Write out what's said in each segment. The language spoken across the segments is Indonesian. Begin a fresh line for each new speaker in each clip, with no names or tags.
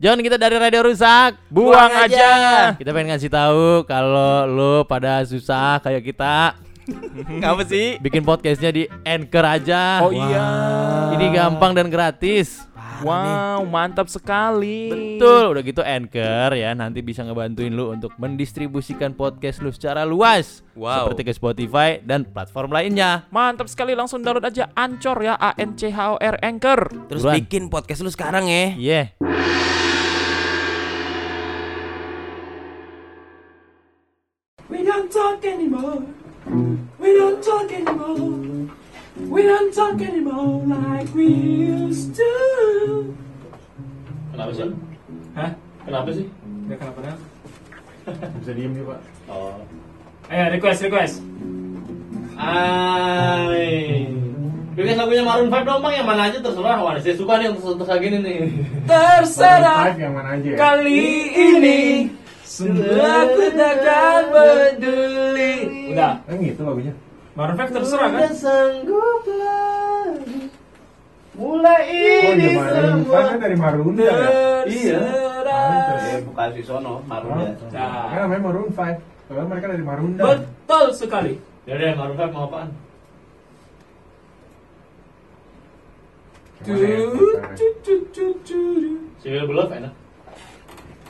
Jangan kita dari radio rusak, buang,
Buang
aja.
aja.
Kita pengen ngasih tahu kalau lu pada susah kayak kita
Ngapa sih?
bikin podcastnya di Anchor aja.
Oh iya.
Ini gampang dan gratis.
Wow, mantap sekali.
Betul, udah gitu Anchor ya nanti bisa ngebantuin lu untuk mendistribusikan podcast lu secara luas.
Wow.
Seperti ke Spotify dan platform lainnya.
Mantap sekali langsung download aja Ancor ya A N C H O R Anchor.
Terus
Buruan. Iya.
bikin podcast lu sekarang ya.
Yeah.
We don't talk anymore. We don't talk anymore. We don't talk anymore like we used to.
Kenapa sih?
Hah?
Kenapa sih?
Gak kenapa-napa.
Bisa diem nih pak. Oh.
Ayo request request.
Hai. Bikin kan lagunya Maroon 5 dong bang, yang mana aja terserah. Wah, saya suka nih untuk untuk kayak gini nih.
Terserah
yang mana aja?
ya?
kali ini sudah aku takkan peduli.
Udah.
Kan gitu lagunya.
Maroon 5 terserah kan?
sanggup lagi. Mulai
Oh,
ini semua.
Kan dari Maroon ya.
Iya.
Terserah.
Bukan si Sono, Marunda.
Kan
Nah,
namanya Maroon 5. Padahal mereka dari Marunda.
betul sekali.
Yaudah, Maroon 5 mau apaan?
Cuman ya, bukan.
Civil Belove enak.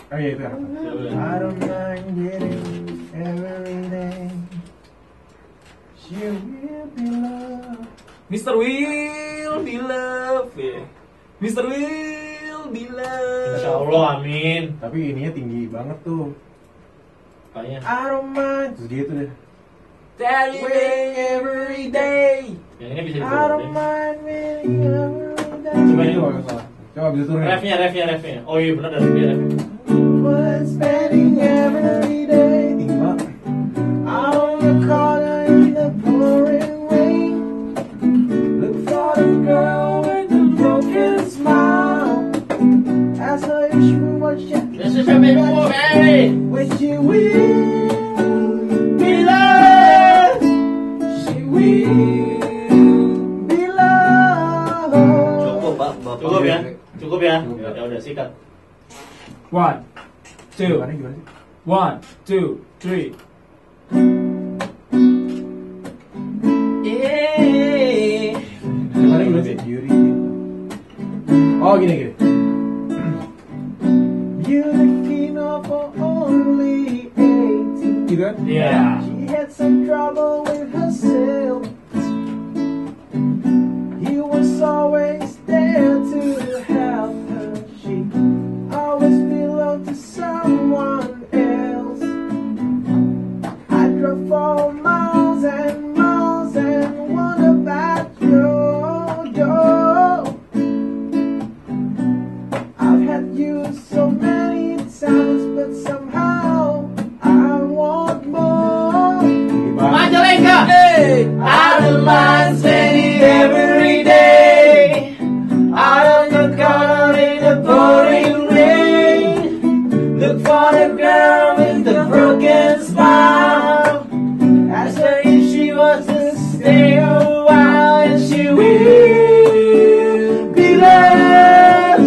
Oh iya itu. apa? I don't mind getting everything. You will be loved.
Mr. Will be love. ya. Mr. Will be
Insya
love.
Allah, amin.
Tapi ininya tinggi banget tuh.
Kayaknya.
I don't mind. Terus gitu deh.
Tell you every day.
Yang ini bisa
I
dibawa.
don't mind getting everything.
Coba ini.
Coba kalau salah. Coba bisa turunin.
Refnya, refnya, refnya. Oh iya benar dari dia refnya.
was spending every day. Tinggi banget. Out on the corner in the pouring rain. Look for the girl with the broken smile. I saw you sure what you
This is a big move, Harry.
what you will be loved. She will be loved.
Cukup, Pak. Bapak.
Cukup ya, cukup ya.
Cukup.
Ya udah sikat.
One, two,
Gimana, gimana sih?
one, two, three.
Kemarin gimana sih? Oh gini gini. You're the king of only 18. Gitu kan?
Yeah.
She had some trouble with herself. He was always there to help her. She always belonged to someone else. I drove for miles and miles and wondered about your door. I've had you so many times, but somehow I want more.
Majalengka.
Out of mind spending every day. Out of the corner in the pouring rain. Look for the girl with the broken smile. Ask her if she wants to stay a while, and she will be loved.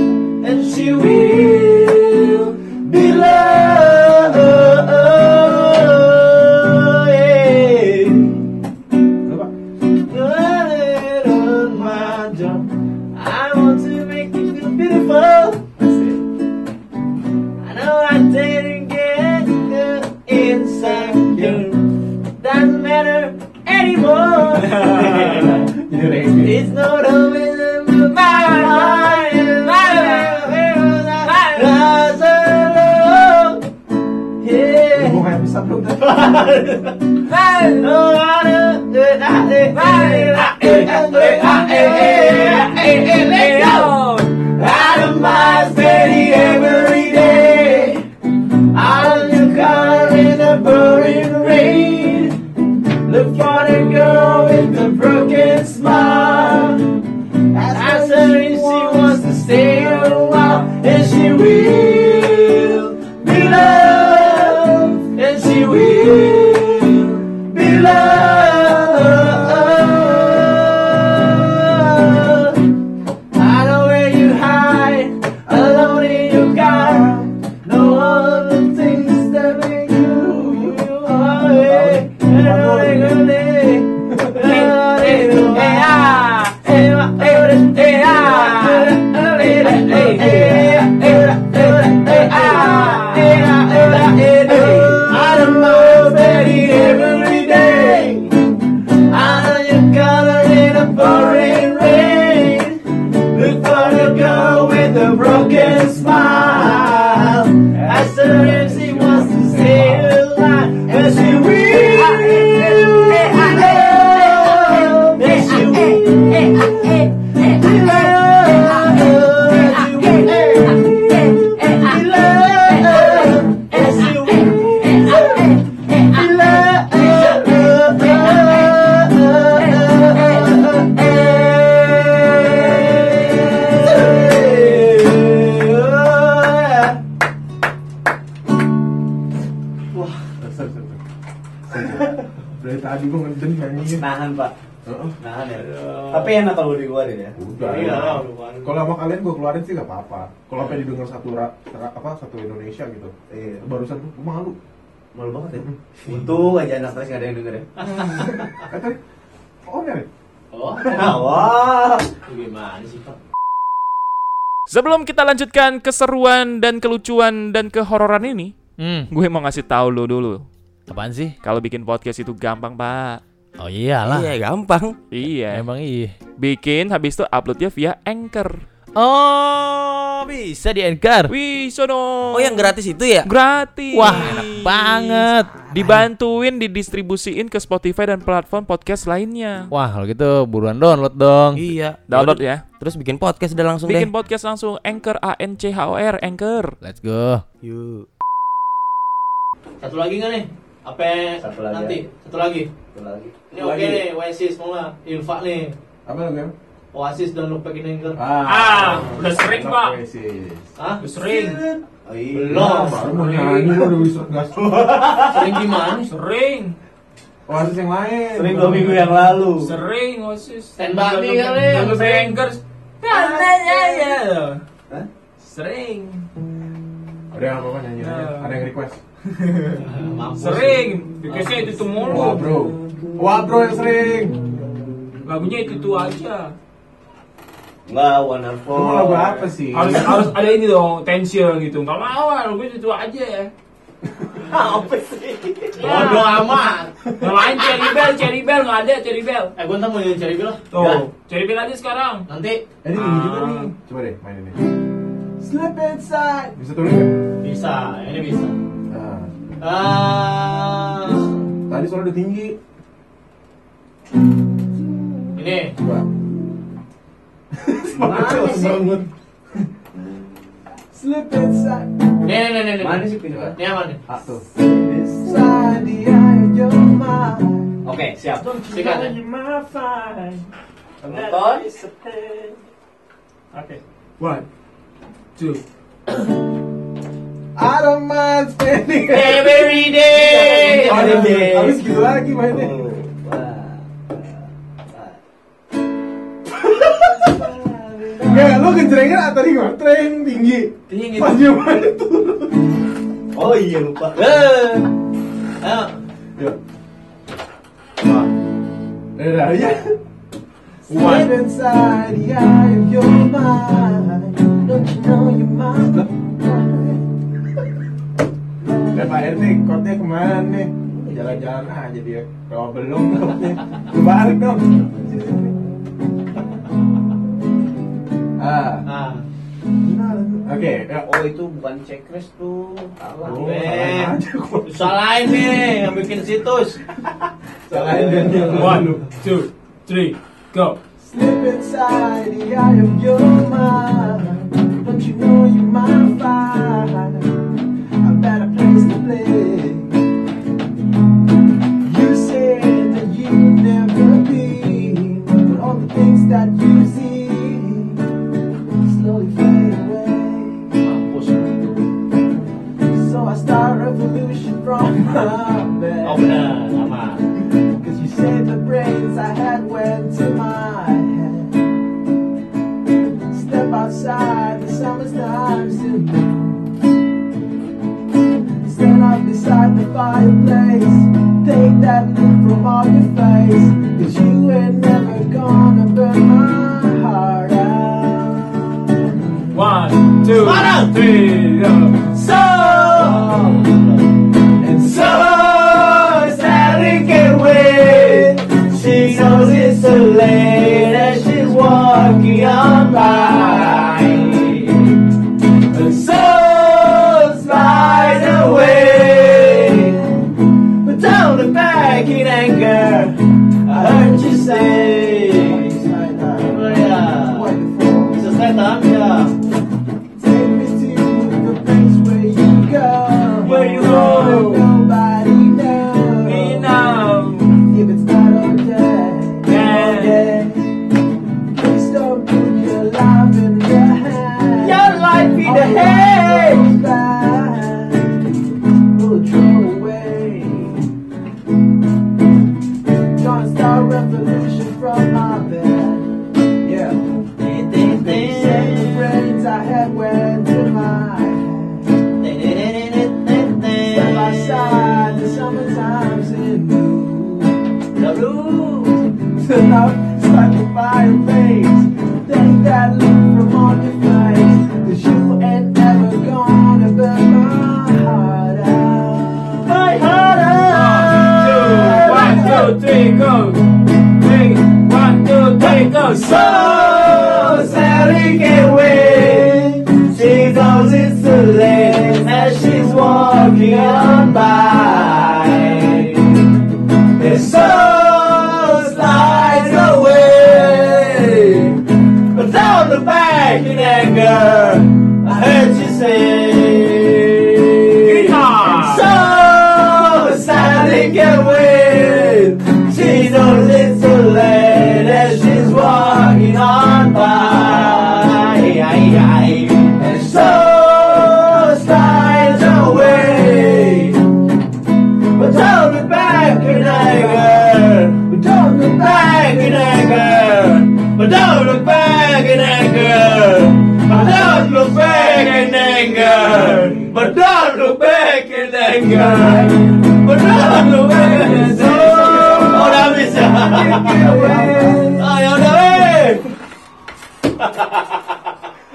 And she will be loved. Yeah. Running on my job. I want to make you feel beautiful. I know I didn't get the inside you. Doesn't matter anymore. it's not always in my mind. My love. Yeah.
Hmm,
Alone
tadi gua ngeden nyanyi.
Nahan pak,
Heeh.
nahan ya. Tapi enak kalau dikeluarin ya.
Udah.
Iya,
Kalau sama kalian gue keluarin sih gak apa-apa. Kalau apa didengar satu ra, ra- apa satu Indonesia gitu.
Iya.
Barusan tuh gua malu.
Malu banget ya. Untung aja anak stres nggak ada yang denger ya.
Eh tadi oh ya.
Oh,
Wah.
gimana sih Pak?
Sebelum kita lanjutkan keseruan dan kelucuan dan kehororan ini,
Hmm,
gue mau ngasih tahu lo dulu.
apaan sih?
Kalau bikin podcast itu gampang, Pak.
Oh iyalah.
Iya gampang.
Iya.
Emang iya.
Bikin habis itu uploadnya via Anchor.
Oh, bisa di Anchor.
Wih, sono.
Oh yang gratis itu ya?
gratis.
Wah, enak banget.
Dibantuin didistribusiin ke Spotify dan platform podcast lainnya.
Wah, kalau gitu buruan download dong.
Iya.
Download ya.
Terus bikin podcast udah langsung
Bikin
deh.
podcast langsung Anchor A N C H O R Anchor.
Let's go.
Yuk.
Satu lagi nggak nih? Apa
Satu lagi
nanti?
aja.
Satu lagi.
Satu lagi.
Ini oke nih, Oasis mau nggak? Ilfa nih.
Apa lagi? Em?
Oasis download pakai anchor.
Ah,
udah sering, Pak.
Hah?
Sering,
Oh, iya.
Belum.
Baru mau nyanyi lu udah bisa gas.
Sering gimana?
sering,
Oh, harus yang lain.
Sering dua minggu yang lalu.
sering oh, osis.
Stand by me kali.
Kalau banger, katanya ya.
Hah?
Sering,
Udah apa apa nyanyi aja.
Nah.
Ada yang request.
Ah, Mampus.
sering. Biasanya itu tuh
Wah,
mulu.
bro. Wah, bro yang sering.
Lagunya itu tuh aja.
Wah, wonderful.
Lu mau lagu apa sih?
Harus harus ada ini dong, tension gitu. Gak mau, lagunya itu tuh aja.
apa sih?
Bodoh amat.
Yang lain Cherry Bell, Cherry Bell nggak ada Cherry Bell.
Eh, gue ntar mau jadi cari bilang.
Tuh, Cherry Bell aja sekarang.
Nanti
Ini gini juga
Ah.
nih. Coba deh main ini. Slip inside. Bisa tulis nggak?
bisa, ini bisa.
Nah,
Ah,
tadi suara udah tinggi.
ini.
Coba.
Mana sih?
Bangun. Slip inside.
Nih, nih, nih, nih, nih.
Mana sih pindah?
Ini aman nih.
Ah, tuh. Inside the eye of your mind.
Oke, siap.
Sikat ya.
Penonton.
One, two. I don't mind spending
Every day.
Oh, udah, udah. Habis gitu lagi mainnya. Nggak, lu kejerengin ah, tadi gimana? Treng tinggi.
Tinggi
Pas dia main turun.
Oh iya lupa. Eh. Ayo.
Ya. Wah. Eh, dah, ya. One inside the eye of your mind. Don't you know you're mine? Eh, Pak RT, kotnya kemana nih? Jalan-jalan aja dia. Kalau belum kotnya, Lu balik dong. Ah,
Ah,
oke. ya.
Oh itu bukan checklist tuh. Salah.
Oh,
Eh.
salah aja gua.
Salahin nih yang bikin situs.
Salahin dia dia malu.
One, two, three, go.
Slip inside the eye of your mind. Don't you know you're my fire? A better place to play. You said that you never be, but all the things that you see slowly fade away.
Mampus.
So I start a revolution from my bed.
Oh benar, aman.
Cause you said the brains I had went to my head. Step outside, the summer's time soon. Stand up beside the fireplace. Take that look from all your face. Cause you ain't never gonna burn my heart out.
One, two,
Semarang!
three, go.
And so Sally can wait. She knows it's so late as she's walking on by. And so slides away. But don't look back in anger. I heard you say.
Oh ya.
Wonderful.
Bisa stand up ya.
Take me to the place where
anger. But don't look back in anger. But don't look back in